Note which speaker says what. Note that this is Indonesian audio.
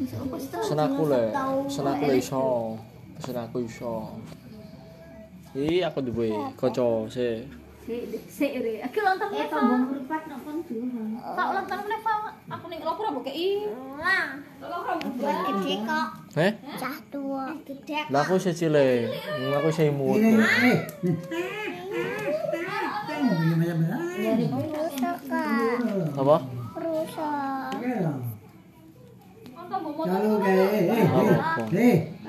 Speaker 1: Sen aku le, sen aku le iso. Sen aku iso. Iki aku duwe kanca sih.
Speaker 2: Sik re. Aku ulang tahun
Speaker 3: Eh,
Speaker 2: Eva.
Speaker 3: tombol merupat nak kon dulu.
Speaker 2: Tak ulang tahun Eva. Aku ning lapor mbok kei. Lapor mbok kei.
Speaker 4: gede kok
Speaker 1: Eh?
Speaker 4: cah tua
Speaker 3: Gedek.
Speaker 1: Lah aku sih cilik, aku sih imut.
Speaker 4: rusak kak
Speaker 1: Apa?
Speaker 4: rusak
Speaker 2: Kon tombol motor.
Speaker 5: Halo guys.
Speaker 1: Apa?
Speaker 5: Eh,